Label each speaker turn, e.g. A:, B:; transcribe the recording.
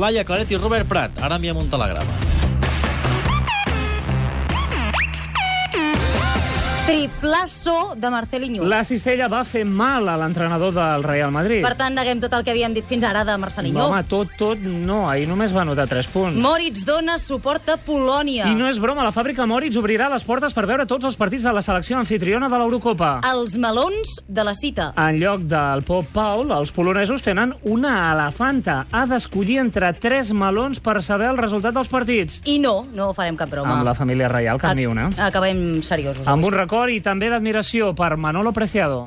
A: Laia Claret i Robert Prat. Ara enviem un telegrama.
B: Triplasso de Marcelinho. La...
C: La cistella va fer mal a l'entrenador del Real Madrid.
B: Per tant, neguem tot el que havíem dit fins ara de Marcelinho.
C: Home, tot, tot, no. Ahir només va anotar 3 punts.
B: Moritz dona suport a Polònia.
C: I no és broma, la fàbrica Moritz obrirà les portes per veure tots els partits de la selecció anfitriona de l'Eurocopa.
B: Els melons de la cita.
C: En lloc del Pop Paul, els polonesos tenen una elefanta. Ha d'escollir entre 3 melons per saber el resultat dels partits.
B: I no, no farem cap broma.
C: Amb la
B: Ah.
C: família reial, cap ni una.
B: Acabem seriosos.
C: Amb
B: avui,
C: un record i també d'admiració per Manolo Preciado.